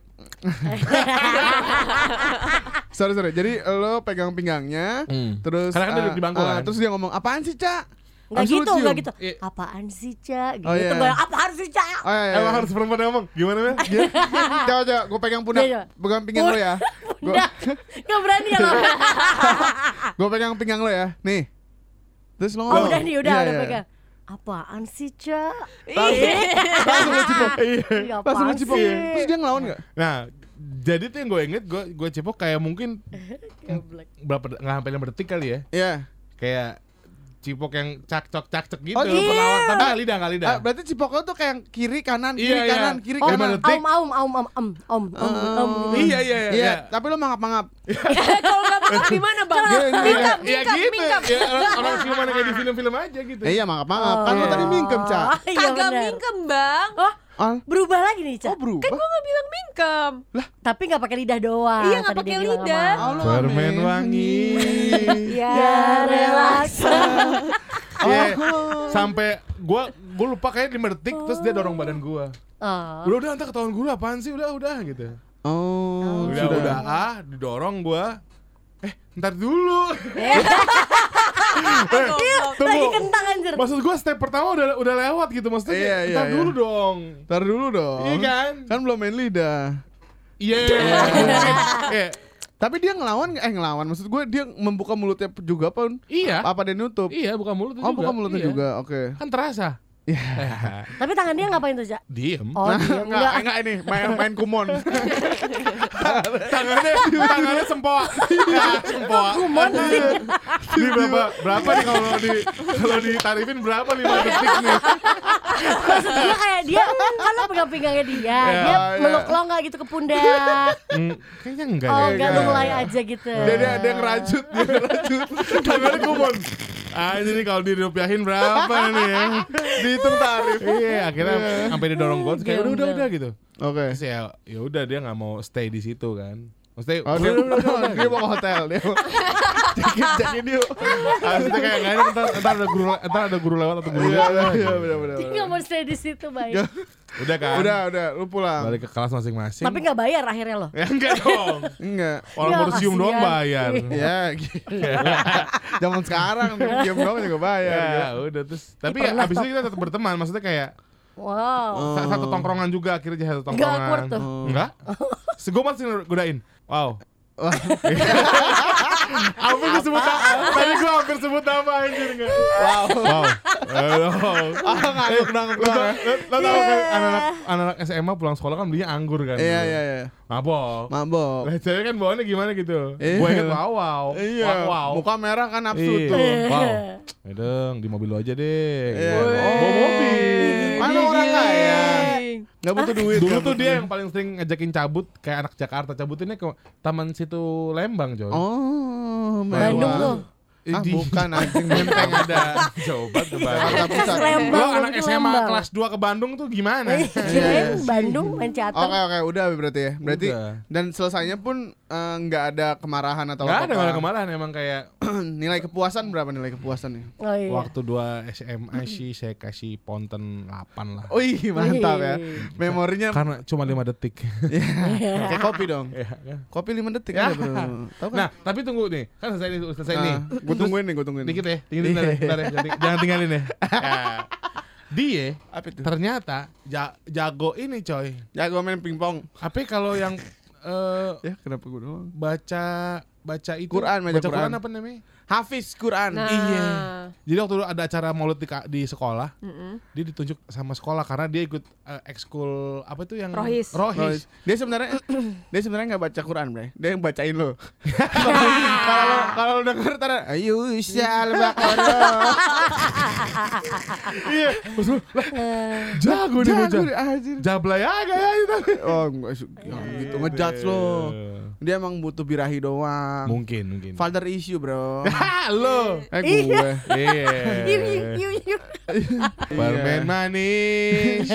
sorry sorry. Jadi lo pegang pinggangnya, Hmm. terus Karena kan dia eh, duduk di bangku eh, kan. Terus dia ngomong, "Apaan sih, Cak?" Enggak Abis lu gitu, cium. enggak gitu. Iya. Apaan sih, Cak? Gitu. Oh, iya. Gua, apaan sih, Cak? Oh iya, iya, Emang iya. harus perempuan yang ngomong gimana Mel? Dia- Coba coba gue pegang pundak, Iya, iya. pegang pinggang lo ya. Gue Udah. Enggak berani ya lo. gue pegang pinggang lo ya. Nih. Terus lo Oh, ngomong. udah nih, udah, Iya, udah iya. pegang. Apaan sih, Cak? Langsung lo cipok. Iya, Langsung lo apaan cipok. sih? Terus dia ngelawan enggak? Nah, jadi tuh yang gue inget gue gue cepok kayak mungkin Goblok. berapa nggak sampai lima detik kali ya Iya. kayak cipok yang cakcok cakcok gitu Oh, iya. perlawan tapi nggak lidah nggak lidah Ah, berarti cipok lo tuh kayak kiri kanan, kiri Iya, iya. kanan, kiri Om, Lima kanan. detik. om, om, om, om, om, om, om, om. iya iya iya, Eh, Iya, tapi lo mangap-mangap. Kalau nggak paham gimana bang? Iya, Mingkap, iya mingkap, gitu. mingkap. Ya, orang, orang ciuman kayak di film-film aja gitu. Eh, iya, mangap-mangap. Kan lo Oh. tadi mingkem, Cak. Iya, Kagak benar. mingkem bang. Oh, Al, berubah lagi nih, Cak. oh berubah. Gue nggak bilang mingkem. Tapi nggak pakai lidah doang. Iya, nggak tadi dia pakai bilang lidah. Iya. sama- Allah, Permen amin. wangi. Iya. Ya, Oh, relax. Iya. Sampai gua gua lupa kayak 5 detik terus dia dorong badan gua. Oh. Udah udah antar ketahuan gua lah, apaan sih udah udah gitu. Oh, Udah sudah. udah ah didorong gua. Eh, ntar dulu. Lagi Iya, Tunggu. kentang anjir. Maksud gua step pertama udah udah lewat gitu maksudnya. Iya, kayak, iya, ntar iya. dulu dong. Ntar dulu dong. Iya kan? Kan belum main lidah. Iya. Eh, Tapi dia ngelawan nggak? eh ngelawan maksud gue dia membuka mulutnya juga pun Iya. apa dia nutup? Iya, buka mulut oh, Ah, buka mulutnya Iya. juga. Oke. Kan terasa. Tapi tangan dia ngapain tuh, Cak? Diem. Oh, dia enggak, enggak. enggak ini main main kumon. tangannya tangannya sempoa sempoa Kumon sih. di berapa berapa nih kalau di kalau ditarifin berapa lima detik nih Maksud gue kayak dia kan lo pegang pinggangnya dia, dia iya. meluk lo nggak gitu ke pundak. Hmm, kayaknya enggak Oh, ya enggak iya. lo mulai aja gitu. dia, dia dia ngerajut, dia ngerajut. tangannya kumon ah ini kalau dirupiahin berapa nih ya Dihitung tarif. iya akhirnya sampai didorong gue kayak udah udah Gembel. udah gitu Oke. terus ya ya udah dia nggak mau stay di situ kan Maksudnya, Oh, dia, dia mau ke hotel, dia mau cekin cekin yuk. Maksudnya kayak nggak ada entar, entar ada guru entar ada guru lewat atau guru Iya, lewat. iya, iya, benar, benar, Dia benar. nggak mau stay di situ baik. Udah kan? Udah, udah, lu pulang. Balik ke kelas masing-masing. Tapi nggak bayar akhirnya lo. ya enggak dong. Enggak. Orang Ya, baru cium doang kasihan. Iya. bayar. Ya, gitu. Zaman sekarang diam doang juga bayar. gitu. Ya, udah terus. Tapi Ih, ya, pernah abis tau. itu kita tetap berteman. Maksudnya kayak Wow. Oh, sa- satu tongkrongan juga akhirnya jadi satu Nggak tongkrongan. awkward tuh. Enggak? Se- Gue masih godain. Wow. Wah. hampir gue sebut nama. Tadi gue hampir sebut nama anjir enggak. Wow. Wow. Eh, Wow. Ah, ngangguk nangkep Lo tau- Iya. lo- Lo tau kan anak-anak anak SMA pulang sekolah kan belinya anggur kan. Iya, iya, iya. Mabok. Mabok. Lah cewek kan bawaannya gimana gitu. Iya. Gue inget wow wow. Wow, Iya, wow. muka merah kan nafsu Iya. tuh. Wow. Eh, Deng, di mobil lo aja deh. Iya. Gitu. Oh, bawa mobil. Mana orang Iya. kaya? Gak butuh duit. Dulu nggak tuh butuh dia duit. yang paling sering ngajakin cabut kayak anak Jakarta cabutinnya ke Taman Situ Lembang, Joy. Oh, mewah. Bandung tuh. Ah, bukan anjing Menteng ada. Coba ke Bandung. Jakarta Kas Pusat. Lembang. Lo anak tapi SMA Lembang. Iya, kelas 2 ke Bandung tuh gimana? Eh, Iya, Kirain iya. Bandung main catur. Oke oke udah berarti ya. Berarti Udah. dan selesainya pun eh, nggak ada kemarahan atau Gak ada apa-apa. orang kemarahan emang kayak nilai kepuasan berapa nilai kepuasannya? Oh iya. waktu dua SMA sih saya kasih ponten 8 lah. Wih mantap ya. Wih. Memorinya Karena cuma 5 detik. kayak kopi dong. Kopi 5 detik ya, bro. Tahu kan? Nah, tapi tunggu nih. Kan selesai nih, selesai nih. gue tungguin nih, gue tungguin. Dikit ya, tinggalin bentar ya, bentar ya, jangan ting- jangan tinggalin ya. Ya. Dia Apa itu? ternyata ja- jago ini coy. Ya gue main pingpong. Apa kalau yang eh, Ya kenapa gue doang? baca baca itu Quran, baca baca, Quran. Quran. apa namanya? Hafiz Quran. Nah, Iya. Jadi waktu dulu ada acara maulid di, ka- di sekolah, mm-mm. dia ditunjuk sama sekolah karena dia ikut eh, ekskul apa tuh yang Rohis. Rohis. Rohis. Dia sebenarnya dia sebenarnya nggak baca Quran, Bre. Dia yang bacain lo. Kalau lo kalau lo denger tar Yusal Baqarah. Iya. Terus lu, lah, Eh. jago nih bocah. Jago, anjir. Jablay aja ya itu. Iya. Oh, enggak su- ya, gitu ngejudge lo. Dia emang butuh birahi doang. Mungkin, mungkin. Father issue, Bro. Ha, lo. Eh Iya. gue. Yuk, yuk, Iya. yuk, yuk. Permen manis.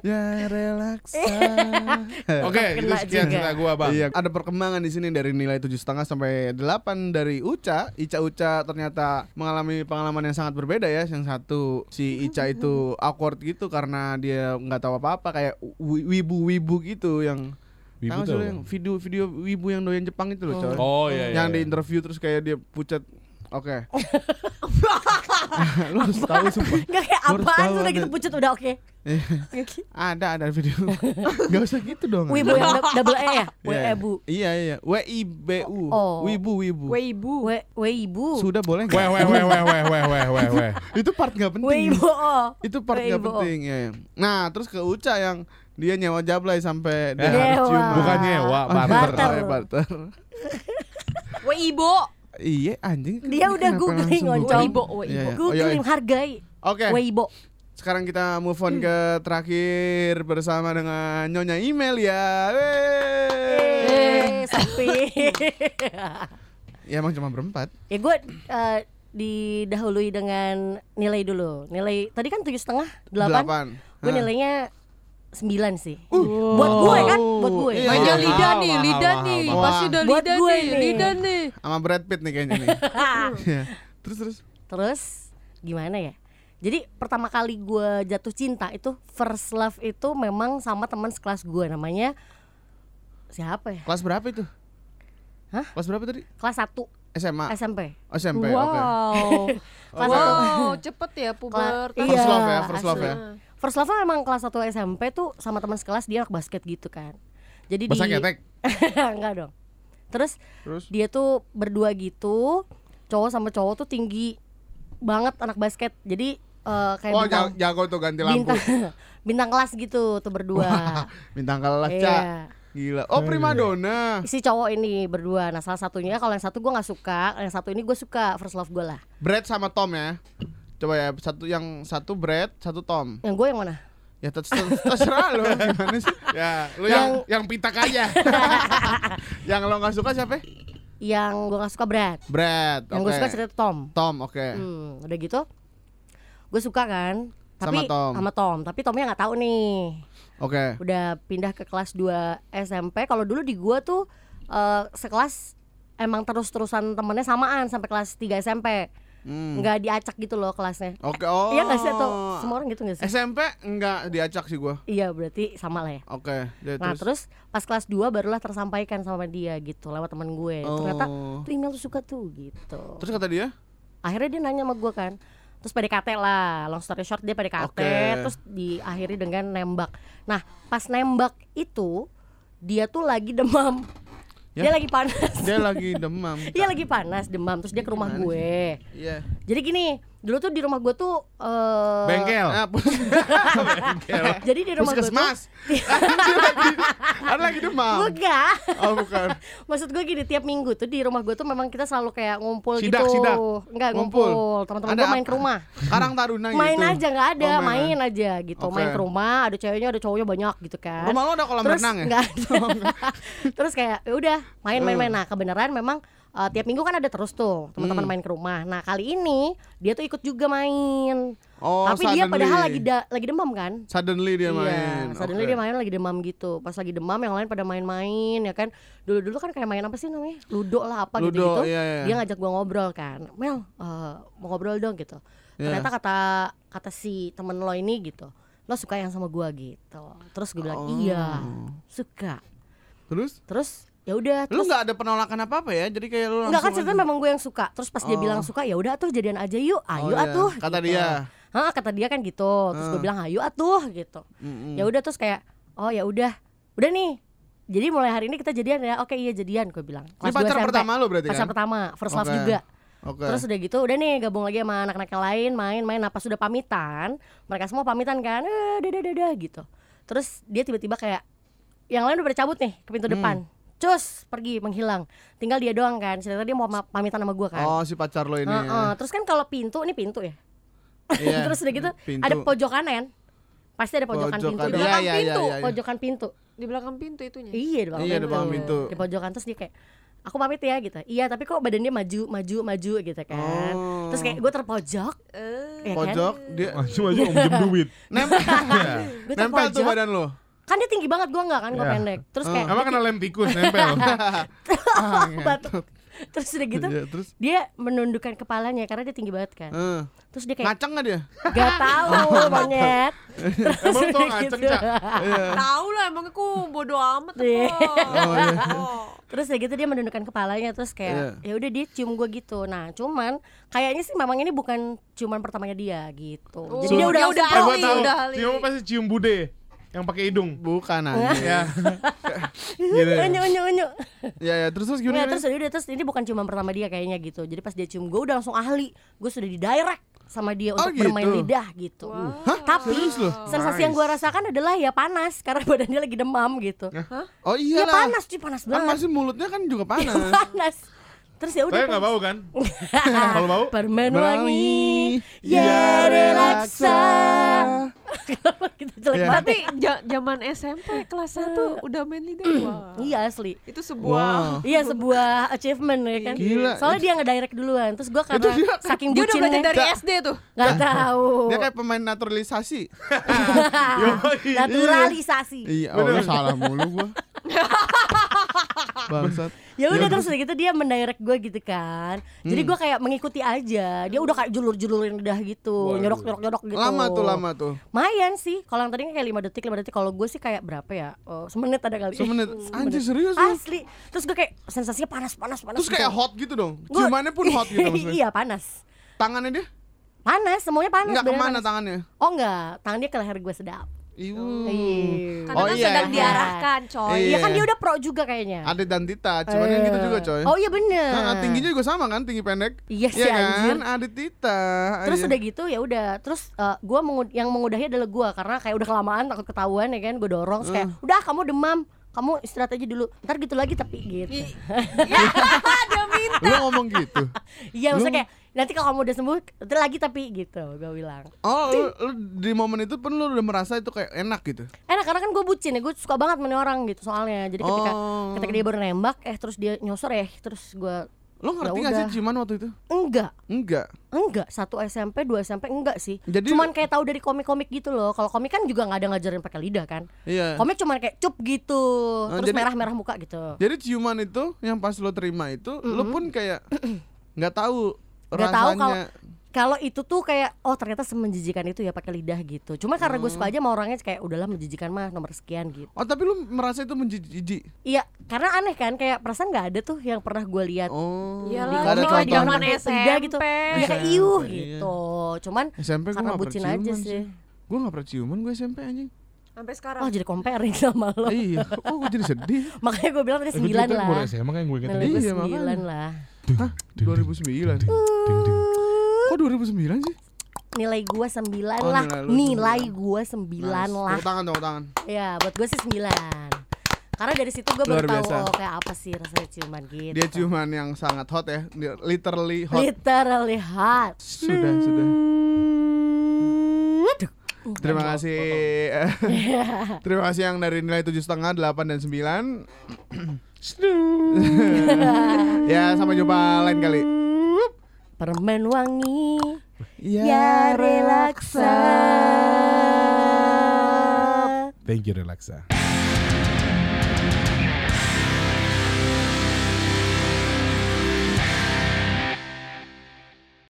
Ya relaks. Oke, itu Kena sekian juga. cerita gua, Bang. Iya, ada perkembangan di sini dari nilai tujuh setengah sampai 8 dari Uca. Ica Uca ternyata mengalami pengalaman yang sangat berbeda ya. Yang satu si Ica itu awkward gitu karena dia nggak tahu apa-apa kayak wi- wibu-wibu gitu yang Wibu Tahu sih tau. lo yang video-video wibu yang doyan Jepang itu loh, coy. Oh iya. yang iya. di interview terus kayak dia pucat. Oke. Lu harus tahu sumpah. Gak kayak Harus apaan tahu sudah gitu ada- pucet udah oke. ada ada video. Gak usah gitu dong. Wibu yang du- double E ya? Iya, iya. Webu. Iya iya. W I B U. Oh. Wibu wibu. Weibo. We Weibu. Sudah boleh nggak? Weh weh weh weh weh weh weh weh weh. Itu part nggak penting. Weibo. Itu part nggak Weibo. penting ya. ya. Nah terus ke Uca yang dia nyewa jablay sampai dia Eh, harus Dewa. ciuman. Bukan nyewa, Oh, barter. barter. Iya, Barter. Oh, barter. Weibo. Iya anjing. Dia udah Kenapa googling, langsung Oncom. buka? Weibo, Weibo. Iya, iya. Oh, iya, Googling iya. hargai. Oke. Weibo. Sekarang kita move on Hmm. ke terakhir bersama dengan Nyonya Email ya. Eh, sepi. Ya emang cuma berempat. ya gue eh, didahului dengan nilai dulu. Nilai tadi kan tujuh setengah, delapan. Gue Hah. nilainya sembilan sih. Uh. Buat gue kan, buat gue. Iya. Banyak Mahal, lidah nih, mahal, lidah mahal, nih. mahal. Pasti udah Buat lidah gue nih, nih. lidah nih. sama Brad Pitt nih kayaknya nih. Iya. terus terus. Terus gimana ya? Jadi pertama kali gue jatuh cinta itu first love itu memang sama teman sekelas gue namanya siapa ya? Kelas berapa itu? Hah? Kelas berapa tadi? Kelas 1 SMA. SMP. Oh, SMP. Oke. Wow. Kelas Wow, cepet ya Kela- pubertas. First love Iya, ya, first love asli. ya. First love memang kelas 1 SMP tuh sama teman sekelas dia anak basket gitu kan. Jadi Bahasa di ketek. enggak dong. Terus Terus dia tuh berdua gitu, cowok sama cowok tuh tinggi banget anak basket. Jadi eh, kayak Oh, bintang, ja- jago tuh ganti lampu. bintang bintang kelas gitu tuh berdua. Bintang kalah, Cak. Iya. Gila. Oh, primadona. Si cowok ini berdua. Nah, salah satunya kalau yang satu gue nggak suka, yang satu ini gue suka first love gue lah. Brad sama Tom ya. Coba ya, satu yang satu Brad, satu Tom. Yang gue yang mana? Ya ter- ter- terserah lo gimana sih? Ya, lu yang Yang- yang pitak aja. Yang lo nggak suka siapa? Yang gue nggak suka Brad. Brad. Yang gue oke. suka cerita Tom. Tom, oke. Hmm, udah gitu, gue suka kan. Tapi Sama Tom. sama Tom. Tapi Tomnya nggak tahu nih. Oke. Udah pindah ke kelas 2 SMP. Kalau dulu di gue tuh eh, sekelas emang terus-terusan temennya samaan sampai kelas 3 SMP. Hmm. Nggak diacak gitu loh kelasnya. Oke. Oh. Eh. Iya nggak sih atau semua orang gitu nggak sih? SMP enggak diacak sih gua. Iya berarti sama lah ya. Oke. jadi Nah terus pas kelas 2 barulah tersampaikan sama dia gitu lewat teman gue. Ternyata Oh. tuh email tuh suka tuh gitu. Terus kata dia, Akhirnya dia nanya sama gue kan. Terus PDKT lah, long story short dia PDKT Oke. terus diakhiri dengan nembak. Nah, pas nembak itu dia tuh lagi demam. Ya. Dia lagi panas. dia lagi demam. Dia lagi panas, demam terus dia ke rumah Gimana gue. Iya. Jadi gini, dulu tuh di rumah gue tuh eh, Bengkel. Ah, pus- Jadi di rumah gue tuh ya. Ya, Puskesmas. Ada lagi demam. Enggak. Oh, bukan. Maksud gue gini, tiap minggu tuh di rumah gue tuh memang kita selalu kayak ngumpul Sidak, gitu. sidak. Enggak Ngumpul. ngumpul. Teman-teman Ada gue main apa? ke rumah. Karang Taruna gitu. Main aja nggak ada, Oh, main, aja gitu. Oke. Main ke rumah, ada ceweknya, ada cowoknya banyak gitu kan. Rumah lo ada kolam Terus renang ya? nggak ada. Terus kayak ya udah main-main-main. Nah kebenaran memang eh, tiap minggu kan ada terus tuh teman-teman Hmm. main ke rumah. Nah kali ini dia tuh ikut juga main. Oh, Tapi dia padahal lagi da- lagi demam kan. suddenly dia main. Iya, suddenly Oke. dia main lagi demam gitu. Pas lagi demam yang lain pada main-main ya kan. Dulu-dulu kan kayak main apa sih namanya? Ludo lah apa Ludo, gitu-gitu. iya, iya. Dia ngajak gua ngobrol kan. Mel, eh, mau ngobrol dong gitu. Iya. Ternyata kata kata si temen lo ini gitu. Lo suka yang sama gua gitu. Terus gue bilang, Oh. "Iya, suka." Terus Terus ya udah lu terus nggak ada penolakan apa-apa ya? Jadi kayak lu langsung Enggak kan aja. ceritanya memang gue yang suka. Terus pas dia Oh. bilang suka, ya udah tuh jadian aja yuk. Ayo Oh, iya. atuh. Kata gitu. dia. Hah, kata dia kan gitu. Terus gue Ah. bilang ayo atuh gitu. Mm-mm. Ya udah terus kayak oh ya udah. Udah nih. jadi mulai hari ini kita jadian ya oke iya jadian gue bilang Ini Kelas dua pacar SMP. pertama lo berarti pacar kan? pertama first love Oke. juga Oke. Terus udah gitu, udah nih gabung lagi sama anak-anak yang lain, main-main. Nah pas udah pamitan, mereka semua pamitan kan, eh, dadah dadah gitu. Terus dia tiba-tiba kayak, yang lain udah pada cabut nih ke Hmm. pintu depan. Cus, pergi menghilang. Tinggal dia doang kan. Ternyata dia mau ma- pamitan sama gua kan. Oh si pacar lo ini. Heeh. Terus kan kalau pintu, ini pintu ya. Iya, Terus udah gitu, pintu. ada pojok kanan. Pasti ada pojokan, Pojokan, pintu. iya, Di belakang iya, iya, pintu, iya, iya. pojokan pintu. di belakang pintu itunya Iya di belakang Iya, di belakang pintu. Di pojokan terus dia kayak aku pamit ya gitu. Iya tapi kok badannya maju maju maju gitu kan. Oh. Terus kayak gue terpojok. ya Eh, Pojok dia Cuma aja om jem duit. nempel, Kan? Gue nempel tuh terpojok. badan lo. Kan dia tinggi banget gue nggak kan gue Iya. pendek. Terus Eh, kayak "Oh, Emang kena lem tikus nempel. Ah, batuk. Terus udah gitu Iya, terus dia menundukkan kepalanya karena dia tinggi banget kan. eh, Terus dia kayak ngaceng nggak dia? gak tahu monyet. Terus Emang lu tau udah ngaceng, gitu. Cak? tahu lah emang aku bodo amat kok. Iya. Oh. Terus udah gitu dia menundukkan kepalanya terus kayak Iya. ya udah dia cium gue gitu. Nah, cuman kayaknya sih memang ini bukan ciuman pertamanya dia gitu. Oh. Jadi dia Suruh- udah dia udah Eh, langsung gua Ali, tahu. udah Ali. Cium pasti cium bude yang pakai hidung. Bukan Iya. aja. Ya. Gitu ya. unyu unyu unyu Ya ya terus terus Nggak, gimana? Iya, terus udah terus ini bukan cuma pertama dia kayaknya gitu jadi pas dia cium gue udah langsung ahli gue sudah di direct sama dia Oh, untuk bermain gitu. lidah gitu Wow. Hah? tapi Serius lu? sensasi yang gue rasakan adalah ya panas karena badannya lagi demam gitu Oh iya ya lah. panas cuy panas Kan banget masih mulutnya kan juga Ya, panas. panas terus ya udah Saya nggak pas- bau kan? Kalau bau? permen Merangi, wangi Iya. ya relaksa gitu jelek Iya. banget Tapi ja- zaman SMP kelas 1 udah main lidah. Wah. iya asli Itu sebuah Wow. Iya sebuah achievement ya kan. Gila. Soalnya dia ngedirect duluan. Terus gua karena Itu dia kan- saking dia udah belajar bucinnya dari SD tuh. nggak tahu. Iya. Ah, Dia kan? kayak pemain naturalisasi. Yoi. Naturalisasi. Iya, oh, lu salah mulu gua. Bangsat. Iya, Ya udah terus udah gitu dia mendirect gua gitu kan. Jadi Hmm. gua kayak mengikuti aja. Dia udah kayak julur-julurin udah gitu, nyodok-nyodok-nyodok gitu. Lama tuh, lama tuh. Mayan sih. Kalau yang tadi kayak 5 detik, 5 detik. Kalau gue sih kayak berapa ya? Oh, semenit ada kali. Semenit. Anjir serius lu? Asli. Terus gue kayak sensasinya panas, panas, panas. Terus kayak gitu. hot gitu dong. Gua- Ciumannya pun hot gitu maksudnya. iya panas. Tangannya dia? Panas, semuanya panas. Enggak beneran kemana panas. tangannya? Oh enggak, tangan dia ke leher gue sedap. Ibu. Iya. Karena Oh kan iya. sedang diarahkan, coy. Iya Iya. kan dia udah pro juga kayaknya. Ada dan Tita, cuman kan gitu juga coy. Oh iya bener. Nah, tingginya juga sama kan, tinggi pendek. Iya sih, kan? anjir. Ada Tita. Terus Iya. udah gitu ya udah. Terus eh, gua mengu- yang mengudahi adalah gua karena kayak udah kelamaan takut ketahuan ya kan. Gue dorong terus Eh. kayak udah kamu demam, kamu istirahat aja dulu. Ntar gitu lagi tapi gitu. I- Ya, dia minta. lu ngomong gitu. Iya maksudnya kayak nanti kalau kamu udah sembuh ntar lagi tapi gitu gue bilang. Oh, lu, lu di momen itu pun lu udah merasa itu kayak enak gitu. Enak karena kan gue bucin ya, gue suka banget menemani orang gitu soalnya. Jadi ketika Oh. ketika dia baru nembak, eh terus dia nyosor eh terus gua Lu ngerti Ya gak sih udah. ciuman waktu itu? enggak Enggak. Enggak, satu SMP, dua SMP enggak sih. Jadi- cuman kayak tahu dari komik-komik gitu loh. Kalau komik kan juga nggak ada ngajarin pakai lidah kan. Iya. Komik cuman kayak cup gitu, Ah, terus jadi- merah-merah muka gitu. Jadi ciuman itu yang pas lo terima itu, lu pun kayak nggak tahu Nggak tahu kalau rasanya. kalau itu tuh kayak oh ternyata semenjijikan itu ya pakai lidah gitu. Cuma karena Hmm. gue suka aja sama orangnya kayak udahlah menjijikan mah nomor sekian gitu. Oh tapi lu merasa itu menjijik. Iya, karena aneh kan kayak perasaan nggak ada tuh yang pernah gue lihat. Oh. Iyalah, nggak ada kalau di contohnya. zaman Pakai SMP. lidah gitu. Iya kayak SMP, iuh iya. gitu. Cuman SMP gue karena nggak bucin pernah aja ciuman sih. sih. Gue nggak pernah ciuman gue SMP anjing. Sampai sekarang. Oh jadi comparing sama lo. iya. Kok gue jadi sedih? Makanya gue bilang tadi Lu sembilan cerita yang lah. baru SMA kan yang gue ingetin. Nilai Iya, gue makanya. sembilan lah. Hah? 2009. Kok 2009 sih? nilai gua sembilan Oh, lah nilai lu nilai gua sembilan Nice. lah Tepuk tangan, tepuk tangan. ya buat gua sih sembilan karena dari situ gua baru Luar tahu biasa. oh, kayak apa sih rasanya ciuman gitu Dia ciuman yang sangat hot ya, Dia literally hot. literally hot Sudah, sudah. Aduh. Terima kasih. Terima kasih yang dari nilai tujuh setengah, delapan dan sembilan. ya, sampai jumpa lain kali. permen wangi ya Ya, relaksa Thank you, Relaxa.